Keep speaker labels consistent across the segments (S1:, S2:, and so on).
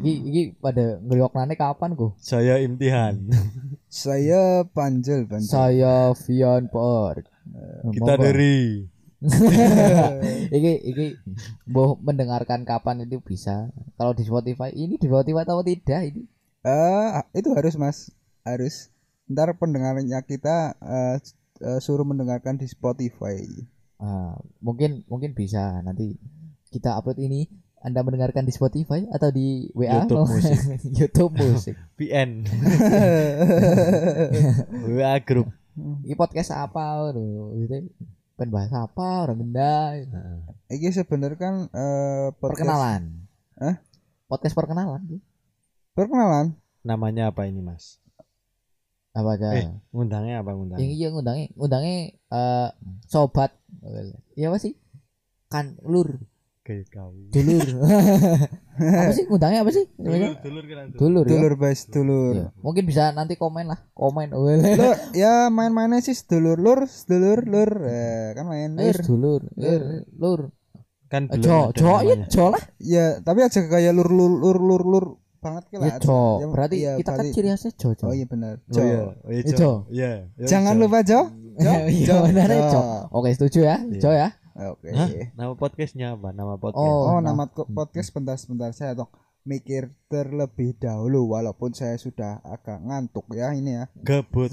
S1: Iki iki pada ngerioknane kapan ku?
S2: Saya imtihan.
S3: Saya Panjel Panjel.
S1: Saya Vian Park.
S2: Kita dari
S1: iki iki boh mendengarkan kapan itu bisa. Kalau di Spotify ini di Spotify atau tidak ini?
S3: Eh, itu harus Mas, harus. Ntar pendengarnya kita eh, eh, suruh mendengarkan di Spotify.
S1: Ah, mungkin mungkin bisa nanti kita upload ini Anda mendengarkan di Spotify atau di WA
S2: YouTube Music.
S1: YouTube Music.
S2: PN. WA grup.
S1: Ini podcast apa lho? Gitu. Pengen bahas apa orang benda.
S3: Iki sebenarnya kan eh, podcast-
S1: Perkenalan.
S3: Hah?
S1: Podcast perkenalan.
S3: Perkenalan.
S2: Namanya apa ini, Mas?
S1: Apa aja?
S2: Eh, Ngundangnya
S1: Yang
S2: apa ngundangnya?
S1: iya ngundangnya, ngundangnya eh sobat. Iya apa sih? Kan lur,
S2: Kayak kau.
S1: dulur. apa sih ngundangnya apa sih? Namanya?
S2: dulur kira
S1: Dulur, ya?
S3: Dulur Bas, dulur.
S1: Iya. Mungkin bisa nanti komen lah, komen. Wele.
S3: Lur, ya main-mainnya sih sedulur lur, sedulur lur. Eh, kan main
S1: Ayo
S3: lur.
S1: dulur, lur, lur.
S2: Kan
S1: Eh,
S2: dulur.
S1: Jo, jo, ya
S2: ada namanya.
S1: jo lah.
S3: Ya, tapi aja kayak lur lur lur lur lur banget ki
S1: Ya
S3: lah.
S1: jo.
S3: Ya,
S1: Berarti
S3: iya,
S1: kita kan
S3: berarti-
S1: ciri khasnya jo, jo.
S3: Oh iya benar.
S2: Oh,
S3: Jo.
S2: iya. Oh, iya,
S1: Eh,
S2: Jo.
S1: Jo.
S2: Iya. Iya,
S3: Jangan
S2: Jo.
S3: lupa Jo. Jo.
S1: Iya, benar ya, jo. Oke, setuju ya,
S2: Iya.
S1: jo ya.
S3: Oke.
S2: Hah? Nama podcastnya apa? Nama podcast.
S3: Oh,
S1: Oh, nah.
S3: nama ko- podcast sebentar-sebentar saya tok mikir terlebih dahulu walaupun saya sudah agak ngantuk ya ini ya.
S2: Gabut.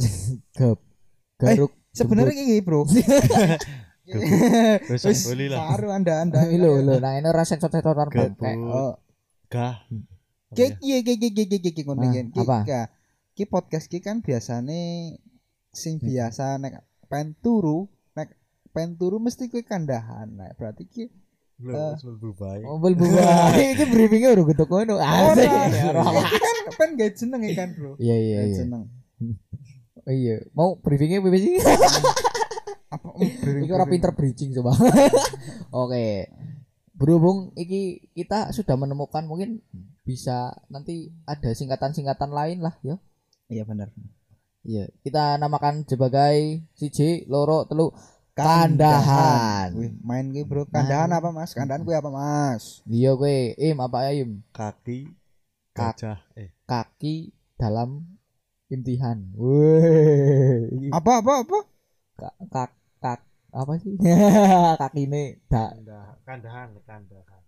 S1: Gab. Garuk.
S3: Sebenarnya ini, Bro.
S2: Wes
S3: Wis,
S2: boleh lah.
S3: Baru Anda-anda.
S1: Nah, ini lho, lho. Nah, ini rasa sensor-sensoran bangke.
S2: Gabut.
S3: Oh,
S2: Gah. ya?
S3: ki iya, ki ki ki ki ki ki ki ngono
S1: Ah,
S3: ki. Ki,
S1: apa?
S3: ka- Ki podcast ki kan biasane sing biasa nek pen turu, nek pen turu mesti kowe kandahan. Nah, berarti ki
S2: Belum,
S3: Eh.
S2: wis mlebu bae.
S1: Mobil buah. Iki briefingnya udah gitu kono. Asik.
S3: iya.
S1: Ya,
S3: Ora.
S1: roh.
S3: Ki kan pen gak jeneng ya kan, Bro.
S1: Iya iya
S3: Gak
S1: iya.
S3: jeneng.
S1: Oh, Iya. Mau briefingnya apa sih?
S3: Apa oh,
S1: Iki orang pinter bridging coba. Oke. Berhubung iki kita sudah menemukan mungkin bisa nanti ada singkatan-singkatan lain lah ya.
S3: Iya benar.
S1: Iya, kita namakan sebagai siji, loro, telu, kandahan.
S3: Wih, main gue bro. Kandahan apa mas? Kandahan gue apa mas?
S1: Iya gue, im apa ya, im?
S2: Kaki
S1: Kak-
S2: gajah. Eh,
S1: Kaki dalam imtihan. Weh. Iki
S3: Apa apa apa?
S1: Kak, kak, kak, apa sih? kaki ini, da,
S2: kandahan, kandahan.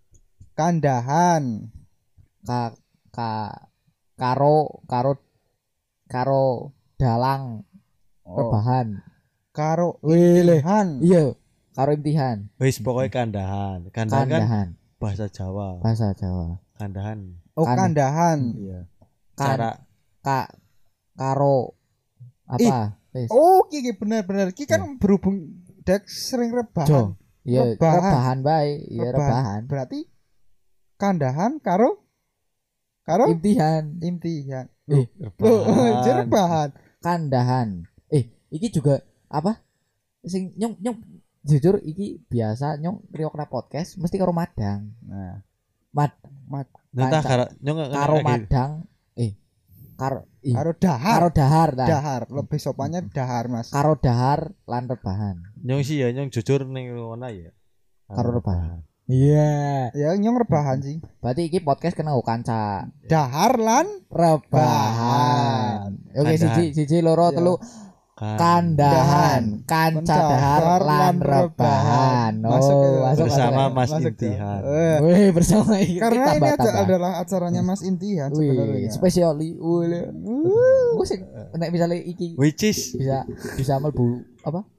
S3: Kandahan.
S1: ka, ka, karo, karo, karo, dalang,
S3: Oh.
S1: rebahan.
S3: Karo
S1: Wih,
S3: Han.
S1: iya, karo imtihan,
S2: Wis pokoknya kandahan. Kandahan kan
S1: kandahan, Kan-
S2: bahasa Jawa.
S1: bahasa Jawa.
S2: Kandahan.
S3: Oh
S1: Kan.
S3: kandahan.
S2: Iya.
S1: Kan,
S2: Cara
S1: ka, karo, apa? Wis.
S3: Oh kiki benar benar. Kiki kan berhubung Dek sering rebahan.
S1: Iya. Jo. Iya,
S3: rebahan.
S1: rebahan bae, iya rebahan.
S3: Berarti kandahan karo karo
S1: Imtihan,
S3: imtihan.
S1: Ih,
S3: Loh,
S1: oh,
S3: anjir,
S2: rebahan.
S3: rebahan.
S1: kandahan. Eh, iki juga apa? Sing nyong nyong jujur iki biasa nyong riokna podcast mesti karo madang.
S3: Nah,
S1: Mad
S2: Entah
S1: Kanca-
S2: karo nyong
S1: karo
S2: karo
S1: madang eh karo ih,
S3: karo dahar.
S1: karo dahar ta
S3: Dahar. Lebih sopannya dahar mas.
S1: karo dahar lan rebahan
S2: nyong sih ya nyong jujur ning ngono ya.
S1: karo rebahan iya
S3: Ya nyong rebahan sih.
S1: berarti iki podcast kena nggo kanca
S3: Dahar lan
S1: rebahan oke
S2: Kandahan.
S1: siji siji loro
S3: Iya.
S1: telu kandahan kanca dahar lan rebahan
S3: Masuk ke-
S1: oh masuk
S2: Bersama
S1: masuk.
S2: Mas
S3: Masuk ke-
S2: Intihan.
S3: Eh,
S1: Wih, bersama iki
S3: karena ini
S1: tambah,
S3: aja
S1: tambah. Hmm.
S3: adalah acaranya Mas Intihan
S1: Wih,
S3: sebenarnya.
S1: spesiali. Wih, gue sih,
S2: Eh.
S1: nek misalnya iki
S2: Which is
S1: bisa bisa melbu apa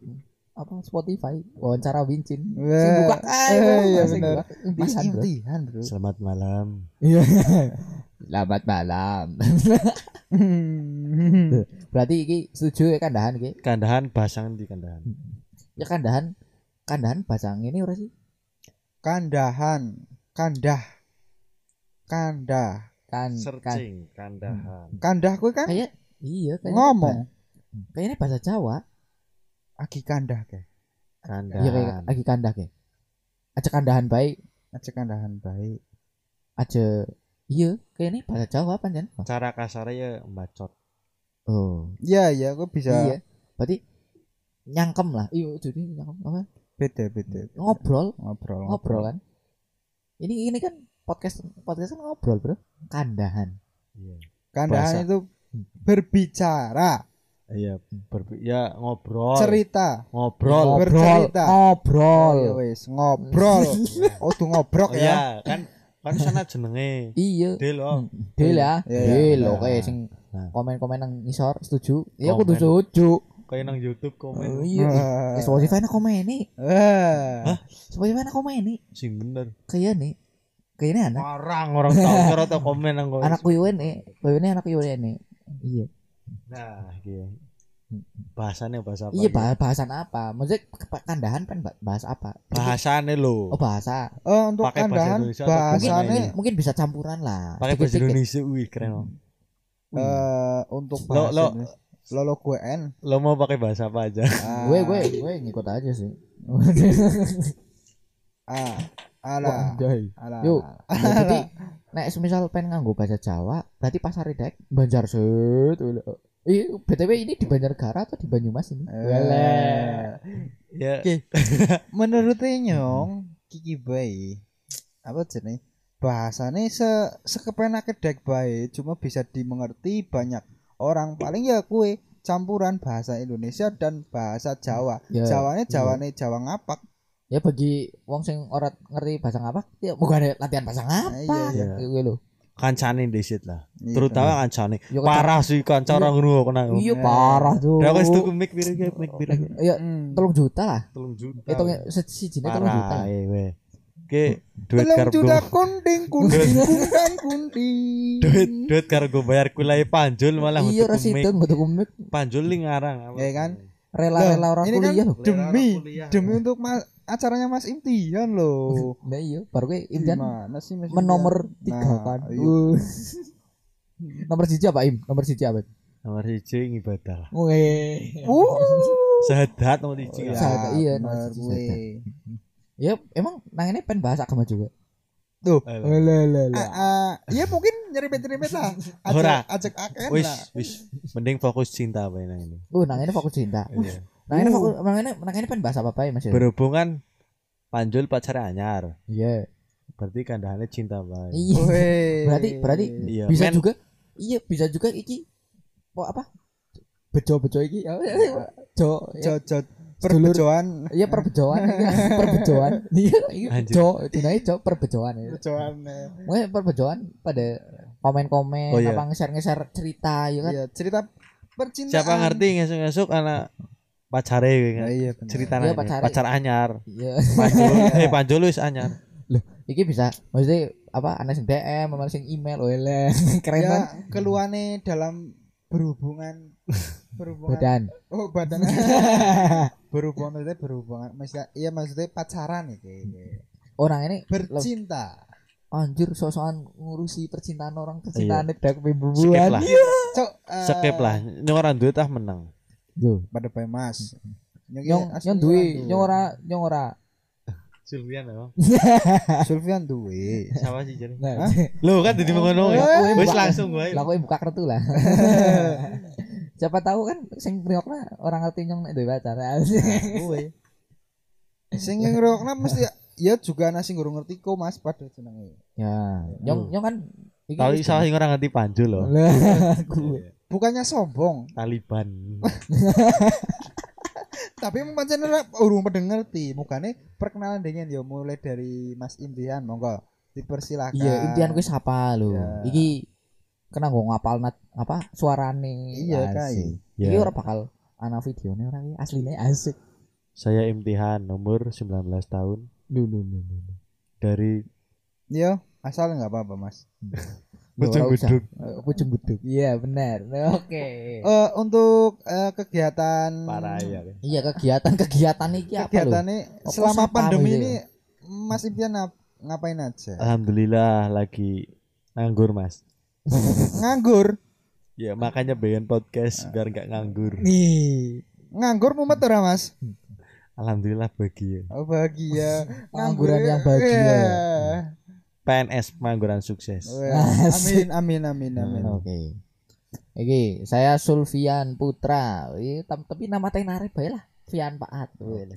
S1: apa Spotify wawancara Wincin
S3: Weh.
S1: sing buka ae
S3: Eh,
S1: bro.
S3: iya
S1: Sing
S3: bener.
S1: buka.
S3: Mas
S1: Impian, bro.
S3: Intihan, Bro.
S2: selamat malam.
S1: iya selamat malam berarti iki setuju ya kandahan iki
S2: Kandahan basang di kandahan.
S1: ya kandahan kandahan pasang ini ora sih
S3: Kandahan, kandah. Kandah.
S1: kan Hmm. kan
S2: Searching kandahan.
S3: Kandah kuwi kan
S1: kayak iya kayaknya
S3: ngomong
S1: ba- kayaknya bahasa Jawa
S3: agi kandah ke.
S1: iya kayak
S2: Kandahan.
S1: lagi kandah ya aja kandahan baik
S3: Aja kandahan baik.
S1: aja iya kayaknya bahasa Jawa panjen
S2: Cara kasarnya ya bacot.
S1: oh
S3: Iya, iya, gue
S2: Ya.
S1: iya
S3: bisa
S1: berarti nyangkem lah iya jadi nyangkem apa
S3: beda-beda
S1: ngobrol
S3: ngobrol.
S1: ngobrol kan ini ini kan podcast podcast kan ngobrol bro kandahan
S2: Iya.
S3: Kandahan
S2: Bahasa.
S3: itu berbicara,
S2: Iya, berbi- ya ngobrol.
S3: cerita.
S1: Oh,
S2: Ngobrol.
S3: Bercerita.
S1: ngobrol
S3: Ya wis, ngobrol. Oh, tuh ngobrok
S2: Oh,
S3: ya.
S2: iya, kan kan sana jenenge.
S1: iya
S2: Deal oh.
S1: deal ya
S3: Iya,
S1: deal
S2: iya.
S1: oke sing
S2: Nah.
S1: komen-komen nang ngisor setuju iya aku
S2: Komen.
S1: tuh setuju
S2: Kayak nang YouTube
S1: Oh,
S2: komen. Hmm.
S1: iya
S3: Eh,
S1: Eh, Spotify nak komen nih
S3: eh.
S1: Spotify nak komen nih
S2: Sing bener.
S1: kayak nih kayak nih anak
S2: Orang orang tahu cara tau komen nang kono.
S1: anak UIN nih ini anak UIN nih iya
S2: Nah, iya. Bahasannya bahasa apa?
S1: Hmm. iya
S2: gitu?
S1: bah- bahasan apa maksudnya ke- kandahan kan bah- bahas apa
S2: Bahasane
S1: oh
S2: lho.
S1: bahasa
S3: Eh, untuk eh,
S2: Pakai bahasa
S3: kandahan
S2: Indonesia atau
S1: mungkin
S3: bahasanya
S2: gimana
S1: mungkin bisa campuran lah
S2: iya. Pakai bahasa
S1: Sedikit-sedikit.
S2: Indonesia wih keren.
S1: Hmm.
S2: oh.
S3: eh untuk
S2: Hmm. Lo-
S3: bahasa
S2: lo-
S3: Indonesia. lo lo gue n
S2: Lo mau pakai bahasa apa aja?
S3: Ah,
S1: gue gue gue ngikut aja sih
S3: ah ala
S1: Anjay.
S3: ala
S1: Yuk.
S3: ala.
S1: Ya, jadi nek semisal pengen nganggo bahasa Jawa berarti pasar dek Banjar set Ih, BTW ini di Banjargara atau di Banyumas ini?
S3: Eh,
S1: Wele.
S2: Ya.
S3: menurut nyong kiki bayi apa jenis bahasanya se sekepenak kedek bayi cuma bisa dimengerti banyak orang paling ya kue campuran bahasa Indonesia dan bahasa Jawa
S1: Ya,
S3: Jawanya
S2: iya.
S3: Jawane Jawa ngapak
S1: Ya bagi wong sing ora ngerti bahasa ngapak, ya moga ada latihan bahasa ngapak.
S3: Iya,
S2: iya.
S1: Kayak gue lho.
S2: Kancane disit lah.
S3: Iya.
S2: Terutama kancane.
S1: Ya, kan-
S2: Parah sih kanca orang ngono kena.
S1: Iya parah tuh.
S2: Ya wis tuku mic biru ya, mic biru.
S1: Ya
S3: Hmm.
S1: telung juta lah.
S2: Telung juta.
S1: Itu siji jine telung juta.
S2: parah eh weh. Oke, duit
S3: Belum
S2: karo
S3: sudah kunding kunding kundang kunding
S2: duit duit karo gue bayar kulai panjul malah
S1: Iya
S2: untuk mic.
S1: residen butuh komik
S2: panjul ling arang apa?
S3: Ya kan?
S2: Nah,
S1: rela-rela
S3: Loh,
S1: orang
S3: ini kan
S1: kuliah loh.
S3: demi
S2: Lera kuliah.
S3: demi untuk ma- acaranya Mas Imtian loh.
S1: Nah iya, baru gue impian
S3: Gimana sih Mas Imtian?
S1: menomor tiga
S3: Iya. Nah,
S1: kan.
S3: iya.
S1: Uh. Nomor siji apa Im? Nomor siji apa? Im?
S2: Nomor siji ngibadah lah.
S1: Weh.
S3: Uh.
S2: Sehat nomor
S1: Oh,
S2: siji.
S1: Iya.
S2: lah.
S1: Sahadat, iya,
S3: bener
S1: Mas,
S3: gue.
S1: Ya emang nang ini pen bahasa agama juga.
S3: Tuh.
S2: Alah.
S1: Lelele.
S3: Ah, ah, ya mungkin nyeripet-nyeripet lah.
S2: Ora.
S3: Ajak ajak aken
S2: Wis,
S3: lah.
S2: wis. Mending fokus cinta apa ini. ini.
S1: Uh, nang ini fokus cinta.
S2: Iya.
S1: Nang ini
S3: Uh.
S1: fokus nang ini nang ini pen bahasa apa ya Mas? ya?
S2: Berhubungan panjul pacar anyar.
S1: Iya.
S2: Berarti kandahannya cinta bae.
S1: Iya.
S3: Weh.
S1: Berarti berarti
S2: Oh, Iya.
S1: bisa
S2: men-
S1: juga iya bisa juga iki po apa bejo-bejo iki apa sih? jo ya,
S3: jojot perbejoan
S1: iya perbejoan iya, perbejoan iya iya,
S2: Anjir.
S1: jo jenenge jo perbejoan ya.
S3: perbejoan. eh.
S1: Mungkin perbejoan pada komen-komen
S2: Oh, iya.
S1: apa nge-share-nge-share cerita ya kan.
S3: Iya, cerita percintaan.
S2: Siapa ngerti ngesuk-ngesuk anak pacare kuwi kan.
S3: Nah, iya bener.
S2: Cerita
S1: Iya,
S2: nanya.
S1: pacare.
S2: pacar anyar.
S1: Iya.
S2: Panjul, eh panjul wis anyar.
S1: Iki bisa maksudnya apa ana sing DM, ana sing email, oleh keren kan.
S3: Ya, keluarnya dalam berhubungan berhubungan
S1: Badan.
S3: Oh badan berhubungan maksudnya berhubungan maksudnya iya maksudnya pacaran iki.
S1: Orang ini lho,
S3: Bercinta.
S1: anjir sosokan ngurusi percintaan orang
S2: Iya.
S1: percintaan iya. dak
S2: Skip
S1: pembubuhan.
S2: lah.
S3: Cok. eh,
S2: Skip lah. Ini orang duit ah menang.
S1: Yo.
S3: Pada bae Mas. Nyong
S1: Nyong
S3: asli
S1: nyong duwe,
S3: orang
S1: nyong ora, nyong ora.
S2: Silvian apa?
S3: Sulfian duwe.
S2: Siapa sih jadi?
S1: Nah,
S2: Lo kan jadi mengono ya.
S1: Eh,
S2: Wis
S1: buka-
S2: langsung gue.
S1: lah kowe buka kartu lah. Siapa tahu kan sing ngriokna orang ngerti nyong nek duwe pacar.
S3: Duwe. Sing ngrokna mesti ya juga ana sing gurung ngerti kok Mas pada jenenge.
S1: ya, nyong nyong kan iki
S2: Tahu
S1: wis-
S2: salah sing orang ngerti panjul loh.
S1: Lah, gue.
S3: Bukannya sombong,
S2: Taliban.
S3: tapi emang pancen ora urung pada ngerti. Mukane perkenalan dengan ya mulai dari Mas Imtian monggo dipersilakan.
S1: Iya, impian kuwi sapa lho.
S3: Ya.
S1: Iki kena nggo ngapal nat apa suarane.
S3: Iya,
S1: Asik.
S2: Ya.
S1: Iki ora bakal ana videone ora iki asline asik.
S2: Saya imtihan nomor 19 tahun
S1: Lho lho lho. lho.
S2: dari
S3: Yo, Iya, asal nggak apa-apa, Mas.
S1: Lho, ora usah.
S2: Bedug.
S1: Eh, Pucung buduk. Iya, benar. Oke.
S3: Eh untuk eh, kegiatan
S2: Parah ya.
S1: Iya, kegiatan-kegiatan iki Ya, apa lho?
S3: kegiatan ini
S1: Apa
S3: selama
S1: sapa
S3: pandemi
S1: gitu
S3: ini Mas Imtian ngap- ngapain aja?
S2: Alhamdulillah lagi nganggur mas.
S3: Nganggur.
S2: Ya makanya bikin podcast biar nggak nganggur.
S3: Nih, nganggur mumet ora, Mas?
S2: Alhamdulillah ya. bahagia.
S3: Oh, bahagia.
S1: Pengangguran
S3: Nganggur,
S1: yang bahagia. ya?
S3: iya.
S2: PNS pengangguran sukses.
S3: Wah,
S1: Asik. Nah.
S3: Amin amin amin amin.
S1: Oke. Iki saya Sulfian Putra. Iya, tam- tapi nama teh narik bae lah. Fian Paat. Wih,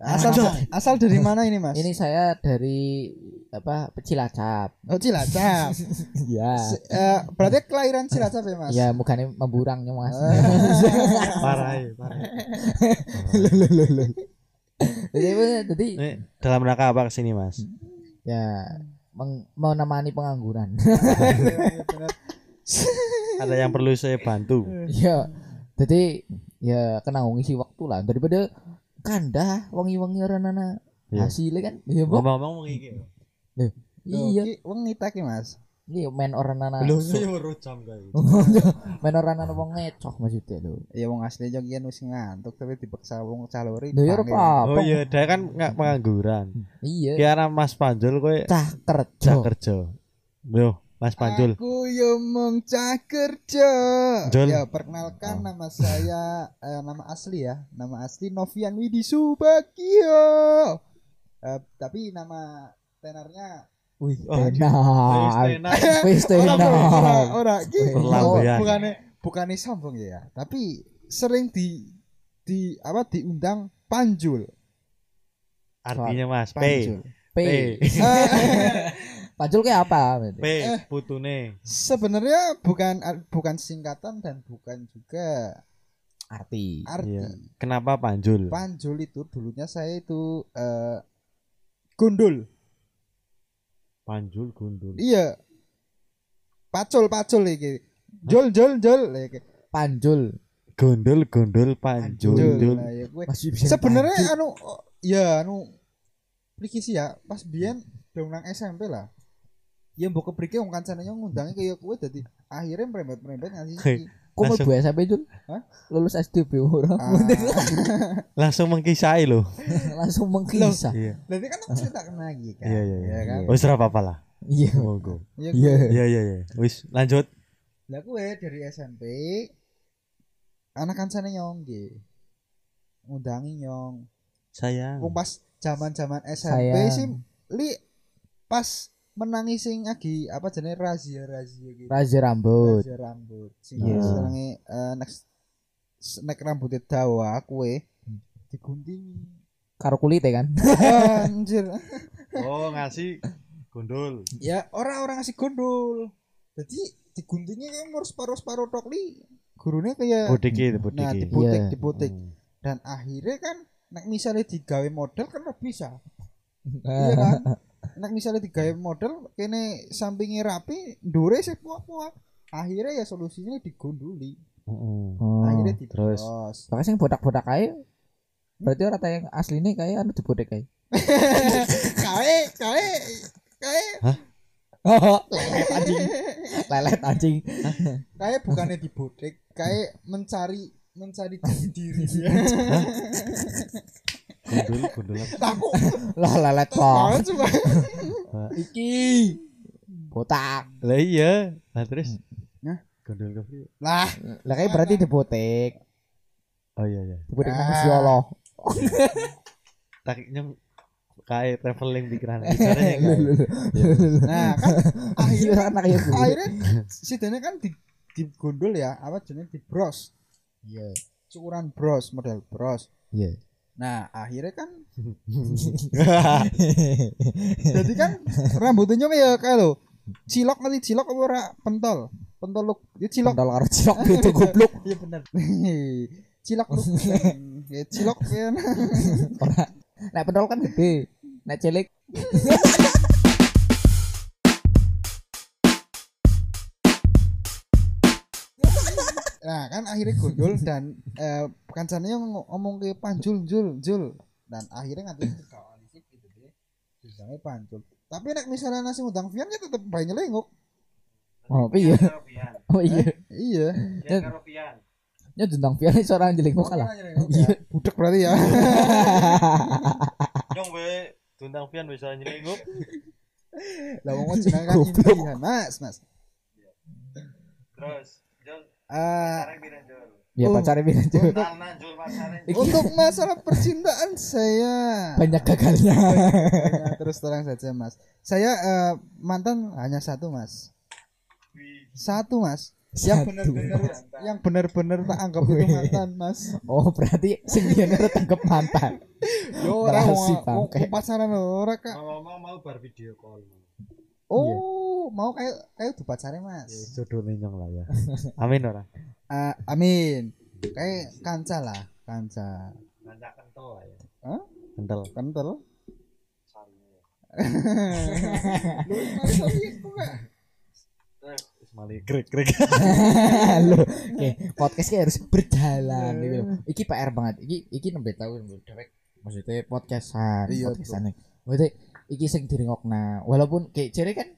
S3: Asal asal dari mana ini, Mas?
S1: Ini saya dari apa Cilacap.
S3: Oh Cilacap.
S1: Iya.
S3: Si- eh, berarti kelahiran Cilacap ya mas?
S1: Ya mukanya memburangnya Mas.
S3: Ah.
S2: parah ya, parah.
S1: Jadi jadi
S2: Ini dalam rangka apa kesini mas?
S1: ya meng- menemani pengangguran.
S3: Bener.
S2: Ada yang perlu saya bantu?
S1: Iya. Jadi ya kena ngisi waktu lah daripada kandah wangi-wangi renana
S2: Iya.
S1: hasilnya kan iya Mbok.
S2: Ngomong-ngomong iki.
S3: Loh,
S1: iya
S3: ki wengi ta ki ya, mas.
S1: iya men oranana
S2: iya. jam guys.
S1: men oranana wong ngecoh maksudnya lho
S3: Ya wong asli jogian wis ngantuk tapi dipaksa wong calori.
S1: lho ya ora
S3: panggil.
S1: apa
S2: Oh iya, dia kan nggak pengangguran.
S1: iya
S2: Kiara Mas Panjul kowe
S1: cah kerja
S2: cah kerja. Loh, Mas Panjul.
S3: Aku yo mung cah kerja.
S2: Jul.
S3: Ya perkenalkan nama saya eh, nama asli ya. Nama asli Novian Widi Subagio. Eh, tapi nama tenornya
S1: wih
S2: Oh, iya.
S1: Ah. tenar wis
S3: Ora, ora,
S1: tenar
S3: ora ki.
S2: Perlambean.
S3: Oh, Bukannya bukannya sombong ya, tapi sering di di apa diundang Panjul.
S2: Artinya Mas P.
S3: Panjul.
S1: P
S2: P.
S3: Eh,
S1: pacul kayak apa
S2: P putune.
S3: Sebenarnya bukan bukan singkatan dan bukan juga
S1: arti
S3: arti.
S2: Iya. Kenapa Panjul?
S3: Panjul itu dulunya saya itu eh gundul.
S2: Panjul gundul.
S3: Iya. Pacul pacul iki. Jol jol jol iki.
S1: panjul
S2: Gundul gundul Panjul.
S3: Jol.
S2: Jul.
S3: Nah, ya kuwi.
S1: masih bisa
S3: Sebenarnya anu oh, ya anu mriki sih ya pas biyen dong nang SMP lah. Ya mbok kebrike wong kancane yo ngundange kaya kuwi dadi akhirnya merembet-merembet ngasih iki.
S1: panjul. kok mau
S2: Langsung.
S1: buah sampai jul
S3: Hah?
S1: lulus SD be ora
S3: Ah,
S2: Langsung mengkisai loh.
S1: langsung mengkisah
S2: Iya.
S3: Berarti kan aku cerita kena iki kan.
S2: Iya iya iya.
S3: Ya kan.
S2: Wis ora apa-apa lah.
S1: iya
S2: Monggo.
S3: Ya
S1: iya
S2: Iya iya iya. Wis lanjut.
S3: Lah gue dari SMP anak kancane nyong nggih. Ngundangi nyong.
S2: Sayang.
S3: Wong pas zaman-zaman SMP
S1: Sayang.
S3: sih li pas menangi sing lagi apa jenenge razia-razia gitu.
S1: raja rambut
S3: Razia rambut. Sing
S1: Iya.
S3: senenge eh, nek nek rambutnya dawa kue diguntingi.
S1: karo kulite kan
S3: Anjir.
S2: Oh, ngasih gundul.
S3: ya orang-orang ngasih gondol. Jadi diguntingnya kan harus paru-paru tok li. Gurunya kayak
S2: Bodek iki, bodek
S3: nah
S2: iki.
S3: diputik
S1: Iya.
S3: diputik
S2: Hmm.
S3: dan akhirnya kan nek misalnya digawe model kan ora bisa iya kan nek misalnya digawe model kene sampingnya rapi ndure sih puak-puak akhirnya ya solusinya digondoli
S2: Heeh.
S1: Oh.
S3: akhirnya
S2: terus.
S3: dibios
S1: Makanya sing botak-botak kae berarti ora tayang asline kae anu dibodek kae.
S3: kae kae kae
S1: lelet anjing. Lelet anjing.
S3: kae bukannya dibodek kae mencari mencari jati diri
S2: Gundul, gundul. apa?
S3: aku
S1: Lah lelet kok.
S3: banget cuma
S1: Iki botak.
S2: Lah iya. Lah terus.
S3: Hah?
S2: Gundul kopi.
S3: lah
S1: Lah kae berarti dibodek.
S2: Oh iya iya.
S1: Dibodek nang
S3: Ah.
S1: Gusti Allah.
S2: Takiknya kayak traveling pikiran.
S3: Iya,
S2: Caranya
S1: Lho,
S2: kayak.
S1: lho, lho.
S2: iya.
S3: nah kan akhirnya
S1: Akhirnya anak ya Bu.
S3: akhirnya sidane kan di digondol ya apa jenenge di bros iya cukuran bros model bros
S1: Iya.
S3: nah akhirnya kan jadi kan rambutnya ya kayak lo cilok nanti cilok apa ora pentol pentol lu ya cilok
S1: Kontol karo cilok itu goblok.
S3: iya bener cilok lu ya cilok ya
S1: Ora. Nek pentol kan gede. Nek cilik
S3: nah kan akhirnya gondol dan eh, kancannya ngomong ngomong ke panjul jul jul dan akhirnya nganti kekawan sih gitu deh Diundangnya panjul tapi nek misalnya nasi udang Vian ya tetep banyak lengok
S1: oh iya. Oh iya.
S3: iya
S1: Nya dendang pian seorang anjing kok kalah.
S3: Iya, budek berarti ya.
S2: Nyong we tundang pian bisa nyelingup.
S3: Lah wong jenenge kan
S1: Goblok.
S3: impian, Mas, Mas.
S2: Terus Jol
S3: Eh,
S2: piran Jol.
S1: Ya
S3: Oh.
S1: pacare pian Cuk.
S2: Tanan Jol pasare.
S1: Iki
S3: untuk masalah percintaan saya
S1: banyak gagalnya.
S3: Saya terus terang saja, Mas. Saya eh, mantan hanya satu, Mas. Satu, Mas. yang
S1: Satu.
S3: bener-bener yang bener-bener tak anggap itu mantan mas
S1: Oh berarti sing biyen ora tangkep mantan.
S3: yo orang
S1: Masih
S3: mau
S1: bangke.
S3: mau pacaran ora kak
S2: Ngomong-ngomong mau bar video call.
S3: Iya. oh mau kayak kayak tuh pacarnya mas
S2: Ya jodoh nyong lah ya. Amin ora.
S3: Ah, amin kayak kanca lah kanca
S2: Kanca kental lah ya.
S3: Hah?
S2: Kental.
S3: kental gitu,
S2: Mali krek krek.
S1: Loh, oke, podcast ki harus berjalan iki
S3: Iya.
S1: lho. Iki PR banget. Iki iki nembe tau nembe dewek. Maksudnya podcastan,
S3: Iya,
S1: podcastan. Maksudnya iki sing direngokna. Walaupun kayak jere kan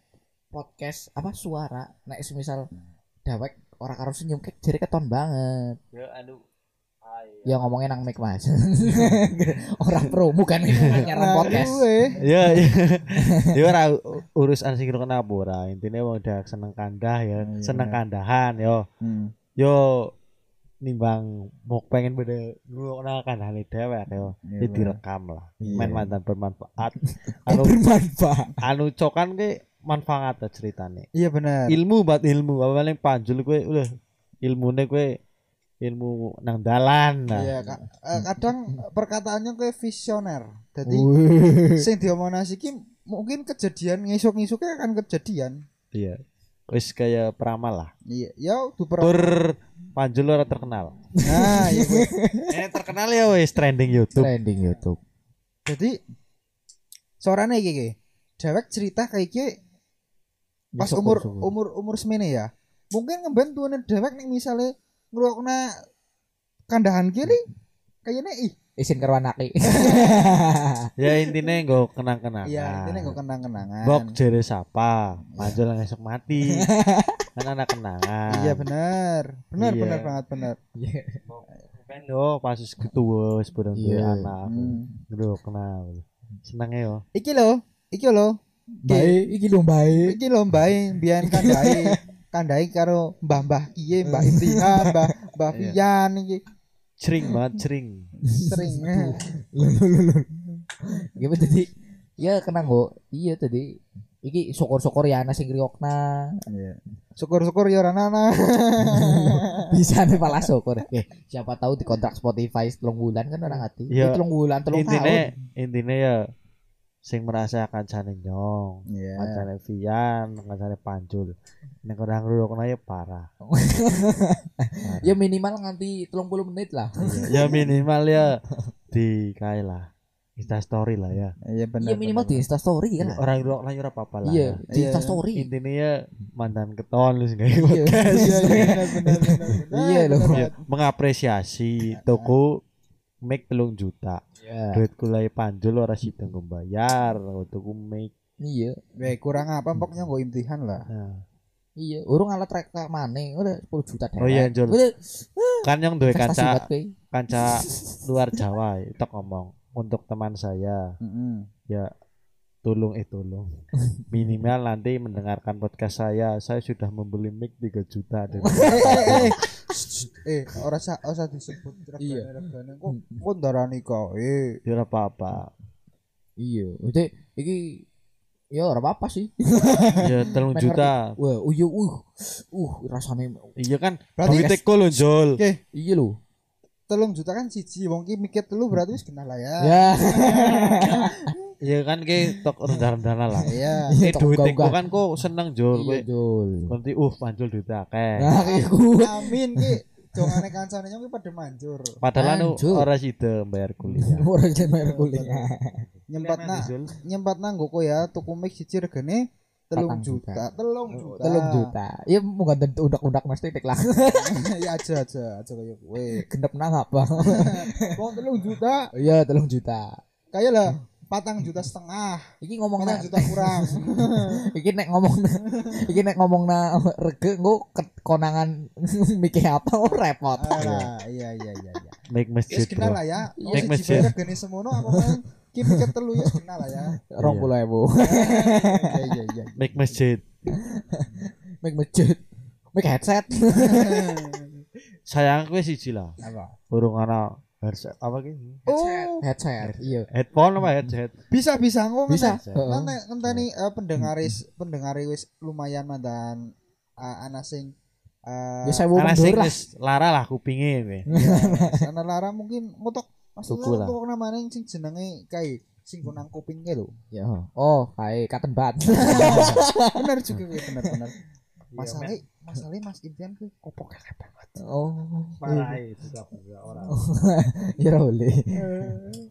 S1: podcast apa suara nek semisal dewek orang karo senyum kayak jere keton banget.
S2: Ya anu.
S1: Ya ngomongnya nang mic Mas. Iya. orang promo kan ini
S3: Nah,
S1: nyaran podcast.
S3: iya.
S2: Ya ya. Ya ora u- urusan sing kena apa ora. Intine wong dak seneng kandah ya,
S3: Hmm, iya,
S2: seneng
S3: bener.
S2: kandahan yo.
S3: hmm.
S2: Yo nimbang mau pengen beda ngurungna kandahane dewek yo. ya. Jadi direkam lah.
S3: Iya.
S2: Main mantan bermanfaat.
S1: Eh,
S2: anu
S1: bermanfaat.
S2: anu cokan ke manfaat lah ceritane.
S3: iya benar
S2: ilmu buat ilmu apa paling panjul kowe ulah ilmune kowe ilmu nang dalan nah.
S3: Iya, ka- eh, kadang perkataannya kayak visioner. Jadi
S1: Wuh.
S3: sing diomongna iki mungkin kejadian ngisuk-ngisuknya akan kejadian.
S2: iya wis kaya peramal lah
S3: Iya, ya tuh
S2: tur panjul ora terkenal
S3: Nah, iya kuwi.
S2: eh terkenal ya wis trending YouTube
S1: Trending YouTube.
S3: Jadi suarane iki iki. Dewek cerita kayak iki pas
S2: Ya,
S1: Nyesek
S3: umur
S1: kok,
S3: umur umur semene ya. Mungkin ngemben tuane dewek nih misalnya ngrungokna kandahan kiri kayaknya ih
S1: isin karo anake.
S2: ya intinya nggo kenang-kenangan
S3: iya ini kok kenang-kenangan.
S2: Nah. Bok jere sapa,
S3: Iya.
S2: panjul nang esok mati. kan anak kenangan.
S3: Iya benar. Benar
S2: Iya.
S3: benar banget benar.
S2: Kan yo pas wis ketua wis bodang duwe
S1: Iya.
S2: anak.
S3: Hmm.
S2: Nggo kenal. ya, oh. Senenge yo.
S3: Iki lho, iki lho.
S1: Baik, iki lho baik.
S3: Iki lho mbae mbiyen kandhai kandhai karo Mbah-mbah kiye, Mbah Intiha, Mbah Mbah
S2: Iya.
S3: Fian iki
S2: Cering
S1: Hmm.
S2: banget, cering.
S3: sering.
S1: Gitu tadi. Ya kena kok. Iya tadi. Iki syukur-syukur ya ana sing ngriokna.
S3: Syukur-syukur ya ora nana.
S1: Bisa nih malah syukur. Oke, siapa tahu dikontrak Spotify telung bulan kan orang hati. Iya.
S2: Iya.
S1: Telung bulan, telung tahun.
S2: intine intine ya sing merasakan jane nyong
S1: Ya.
S3: Iya.
S2: kancane Vian kancane Panjul nek ora ngrungokno ya parah
S1: Ya minimal nganti telung puluh menit lah.
S2: ya minimal ya di kae lah Insta story lah ya
S3: Iya benar.
S1: Iya minimal di Insta story kan.
S2: orang ngrungokno ya ora apa-apa lah
S1: Iya, di
S3: Iya.
S1: Insta story.
S2: intine ya mantan keton lu sing gawe
S1: Iya.
S2: podcast.
S3: Iya iya, benar benar benar. benar,
S1: Iya lho.
S3: benar.
S2: Iya, mengapresiasi toko mic telung juta
S1: Iya.
S2: duit kulai panjul ora sida nggo bayar tuku mic
S1: Iya.
S3: Weh kurang apa pokoknya nggo imtihan lah.
S2: Nah,
S1: Iya, urung alat rek mana? Udah 10 juta deh.
S2: Oh iya, Jul.
S1: Udah
S2: kan yang duwe
S1: prestasi
S2: kaca
S1: buat kowe.
S2: kanca luar Jawa itu ngomong untuk teman saya
S3: Heeh.
S2: tolong eh tolong minimal nanti mendengarkan podcast saya saya sudah membeli mic 3 juta dari
S3: Eh, eh, eh, eh, ora usah ora usah disebut
S1: Iya.
S3: regane-regane. Kok kok ndarani kok. Eh,
S2: ya ora apa-apa
S1: Iya, itu iki ya ora apa-apa sih.
S2: ya telung juta
S1: Wah, uyu uh. Uh, rasane
S2: iya kan
S3: Berarti-
S2: duitnya kolon jol
S1: iya lho.
S3: telung juta kan siji wong ki mikir telu berarti wis kenal lah ya.
S1: Ya,
S2: iya kan ke tok rendah-rendah lah
S3: Iya.
S2: eh
S1: Tok
S2: duit
S1: unggah-unggah.
S2: iku kan kok seneng jol
S1: iya
S2: kowe
S1: Jul.
S2: nanti uh panjul duit akeh
S1: Nah, iku
S3: Iya. Amin ki. Jongane kancane nyong ki padha manjur.
S2: padahal anu
S1: Panjul.
S2: ora sida bayar kuliah
S1: ora jemer kuliah. Nah,
S3: Nyempatna
S2: Jul.
S3: nyempatna nggo ko ya tuku mic siji regane 3
S1: Patang juta.
S3: juta. 3 juta.
S1: Oh, Telung juta. Ya mau ganti udak-udak Mas Titik lah.
S3: ya aja aja aja kaya kowe.
S1: Gendep nang apa?
S3: Wong 3 juta
S1: Iya, telung juta.
S3: kaya lah patang juta setengah,
S1: Iki ngomong
S3: patang
S1: nang
S3: juta kurang.
S1: iki nek ngomong iki nek ngomong na rege engko ket- konangan mikir apa oh, repot.
S2: Eh,
S3: Ah, iya iya iya iya.
S2: mic
S3: Wis
S2: masjid
S3: kenal
S2: bro
S3: lah ya. Wong
S2: Mic
S3: siji
S2: masjid.
S3: bayar regane semono apa kan ki mikir telu ya kenal lah ya.
S1: 20.000.
S3: Iya iya iya.
S2: mic masjid
S1: Mik mejut. Mik headset.
S2: sayang kowe siji lah
S3: Apa?
S2: urung ana headset apa ki
S3: Oh,
S1: Headset. Iya.
S2: headphone apa headset
S3: bisa bisa ngomong Kan
S1: Bisa.
S2: Headset.
S1: Heeh.
S3: Nanti eh, nanti nih pendengaris pendengari wis lumayan mandan uh, ana eh, sing eh,
S1: Ya sewu
S2: Karena sing
S1: mundur lah.
S2: wis lara lah kupinge kowe.
S3: sana lara mungkin ngotok maksudnya
S2: Tuku lah.
S3: tuku namanya sing jenenge kae sing kunang kuping kae lho
S1: Ya. Oh, kae katen bat.
S3: bener juga kayak bener bener
S2: Iya,
S3: masalahnya masalahnya mas Indian ke kopok kakek banget
S1: Oh.
S2: Parai juga orang.
S1: Ya boleh.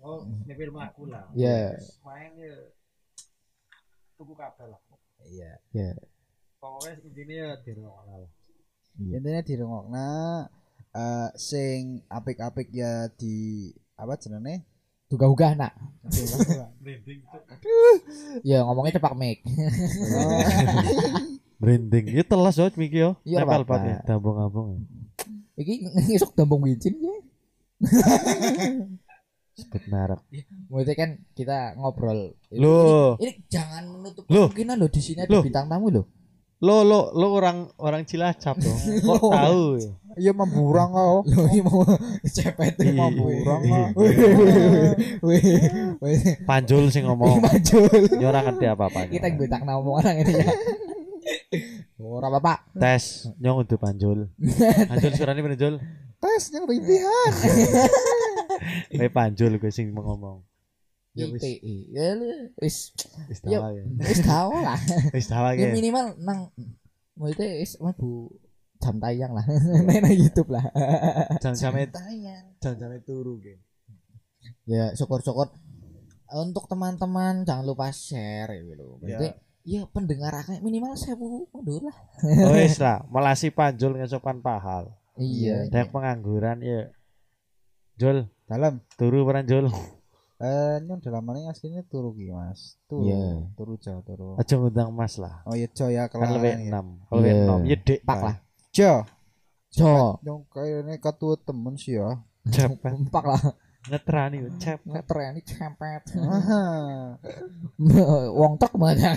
S2: Oh, nyepil aku lah.
S1: Ya.
S2: Main ya tuku kabel lah. Iya.
S1: Ya.
S2: Pokoknya intinya ya di ruang lah.
S3: intinya di rungokna eh, sing apik-apik ya di apa jenenge
S1: Duga-duga nak.
S2: Branding tuh.
S1: Ya ngomongnya cepak mic.
S2: Branding. Iya telas yo Miki yo.
S1: Iya,
S2: Nempel
S1: Bapak.
S2: banget. Dabong-abong. ya.
S1: Iki esok dambung wincin ya.
S2: Sebut merek.
S1: Maksudnya kan kita ngobrol. Ini-
S2: Loh.
S1: Ini, ini jangan menutup
S2: Loh.
S1: kemungkinan loh di sini ada
S2: Loh.
S1: bintang tamu loh.
S2: Lo lo lo orang orang Cilacap dong. Kok
S1: Loh.
S2: tahu? ya?
S3: iya memburang kau
S1: Loh, ini mau cepet
S2: Iya.
S1: mau
S3: memburang
S2: Iya.
S3: kok
S1: Wih, wih,
S2: Panjul sing ngomong.
S1: majul.
S2: Yo ora ngerti apa-apa.
S1: Kita yang bintang tamu orang ini ya. Ora apa-apa.
S2: tes nyong untuk Panjul. Panjul suarane Panjul.
S3: tes yang rintihan
S2: Eh Panjul gue sing ngomong. Ya wis
S1: ITE. Ya lu, wis
S2: wis
S1: Ya.
S2: tawa ya.
S1: wis tau lah.
S2: Wis tawa
S1: Ya
S2: ya.
S1: minimal nang maksudnya wis mlebu jam tayang lah. Main nang YouTube lah.
S2: Jam-jame
S3: tanya
S2: jam-jame turu ge.
S1: ya syukur-syukur untuk teman-teman jangan lupa share gitu. Berarti ya pendengar akeh minimal 1000 mundur lah.
S2: Oh, Wis lah, melasi Panjul ngesokan pahal.
S1: Iya.
S2: Dek pengangguran ya. Jul,
S3: dalam
S2: turu peran Jul.
S3: eh nyong dalam ini aslinya turu ki mas turu
S1: Iya.
S3: turu jauh turu
S2: Aja ngundang Mas lah.
S3: oh iya jo ya
S2: Kan
S3: kelaran
S2: lebih
S3: ya.
S2: 6. Kalau lebih
S1: Iya.
S2: 6 ya dek.
S1: Pak lah.
S3: jo
S1: Jo.
S3: nyong kayaknya ketua temen sih ya
S2: Cepet
S1: Empak lah.
S2: ngetrani cep.
S1: Ngetren iki cempet.
S3: Aha.
S1: Wong tok banyak.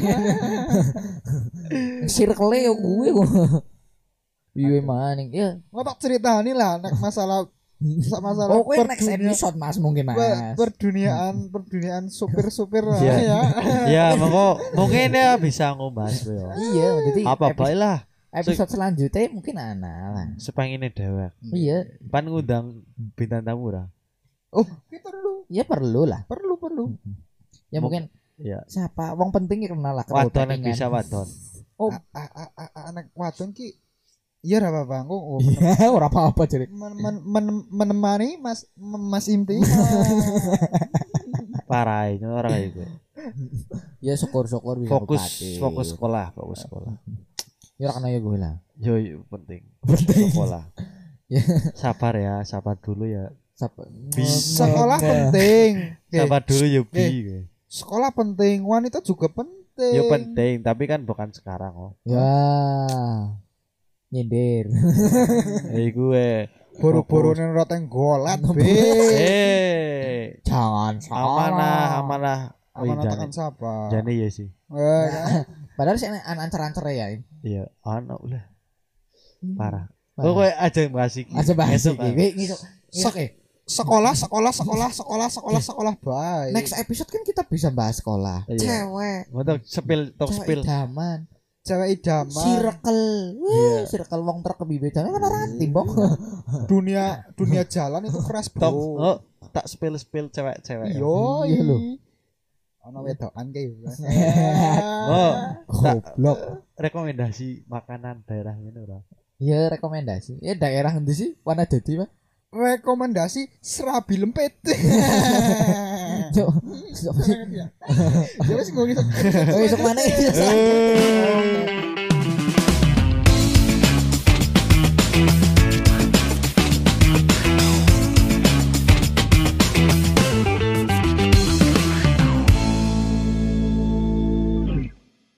S1: Circle yo kuwi kok. Iya maning. Ya.
S3: ngotak cerita nih lah nek masalah masalah
S1: Oh, kuwi next
S3: perdunia-
S1: episode Mas mungkin Mas.
S3: per- perduniaan perduniaan supir supir lah
S2: Iya.
S3: ya
S2: Ya, monggo mungkin ya bisa ngombas yo.
S1: Iya, jadi
S2: Apa
S1: episode,
S2: bae lah
S1: episode selanjutnya mungkin ana lah.
S2: sepengine dewek.
S3: Hmm.
S1: Iya,
S2: Pan ngundang bintang tamu lah.
S3: kita dulu
S1: ya perlu lah.
S3: perlu perlu
S1: Ya
S2: Mung-
S1: mungkin
S2: Iya.
S1: siapa wong penting ya kenal lah kebo
S2: Wadon yang
S1: packingan.
S2: bisa wadon.
S1: Oh.
S3: A- a- a- a- a- anak wadon ki iya ra apa bang oh,
S1: Iya, ora apa-apa jadi.
S3: men- men- men- menemani mas mas imti
S1: Iya.
S2: Parah ini orang kayak gue.
S1: Ya syukur-syukur bisa
S2: Fokus
S1: kepake.
S2: fokus sekolah, fokus
S1: Iya.
S2: sekolah.
S1: Ya ora kena ya gue lah.
S2: Yo, yo penting.
S1: Penting.
S2: Sekolah.
S1: Ya.
S2: sabar ya, sabar dulu ya.
S1: Sapa-
S2: Bisa.
S3: sekolah
S1: Iya.
S3: penting Oke.
S2: Sabar dulu ya bi.
S3: Eh. sekolah penting wanita juga penting
S2: Yo
S1: Iya,
S2: penting, tapi kan bukan sekarang oh.
S1: Ya. Nyindir.
S2: Eh gue.
S3: boro-boro nih roteng golat
S1: Iya.
S3: be
S2: Eh.
S1: Jangan salah.
S2: Amanah, amanah. Oh,
S3: amanah tekan
S2: jangan.
S3: siapa
S2: Jane ya sih.
S3: Eh, kan?
S1: Padahal sih an ancer-ancer ya.
S2: Iya, anak ulah
S1: Hmm. Parah.
S2: parah. Oh, kowe aja bahas iki.
S1: Aja bahas
S2: Esok,
S1: iki.
S2: ah.
S1: Wih, ngisuk. Ngisuk ya.
S3: sekolah sekolah sekolah sekolah sekolah sekolah baik
S1: Next episode kan kita bisa bahas sekolah.
S2: Iya.
S1: Cewek,
S2: Ngono sepil tok
S1: cewek
S2: sepil.
S1: idaman,
S3: cewek idaman
S1: circle,
S2: Iya.
S1: wih, circle wong terkebibetan kan ora timbok.
S3: dunia dunia jalan itu keras
S2: Tok
S3: bro
S2: oh, tak sepil-sepil cewek-cewek. ya.
S3: yo
S1: Iya lho.
S3: ono wedokan kayak
S2: Oh, tak
S1: Goblok.
S2: rekomendasi makanan daerah ini ora.
S1: Ya rekomendasi. Ya daerah endi sih? Mana dadi, Pak?
S3: rekomendasi serabi lempet
S1: Cuk.
S3: ya wis ngono
S1: Oh, esuk mana?
S2: Eh.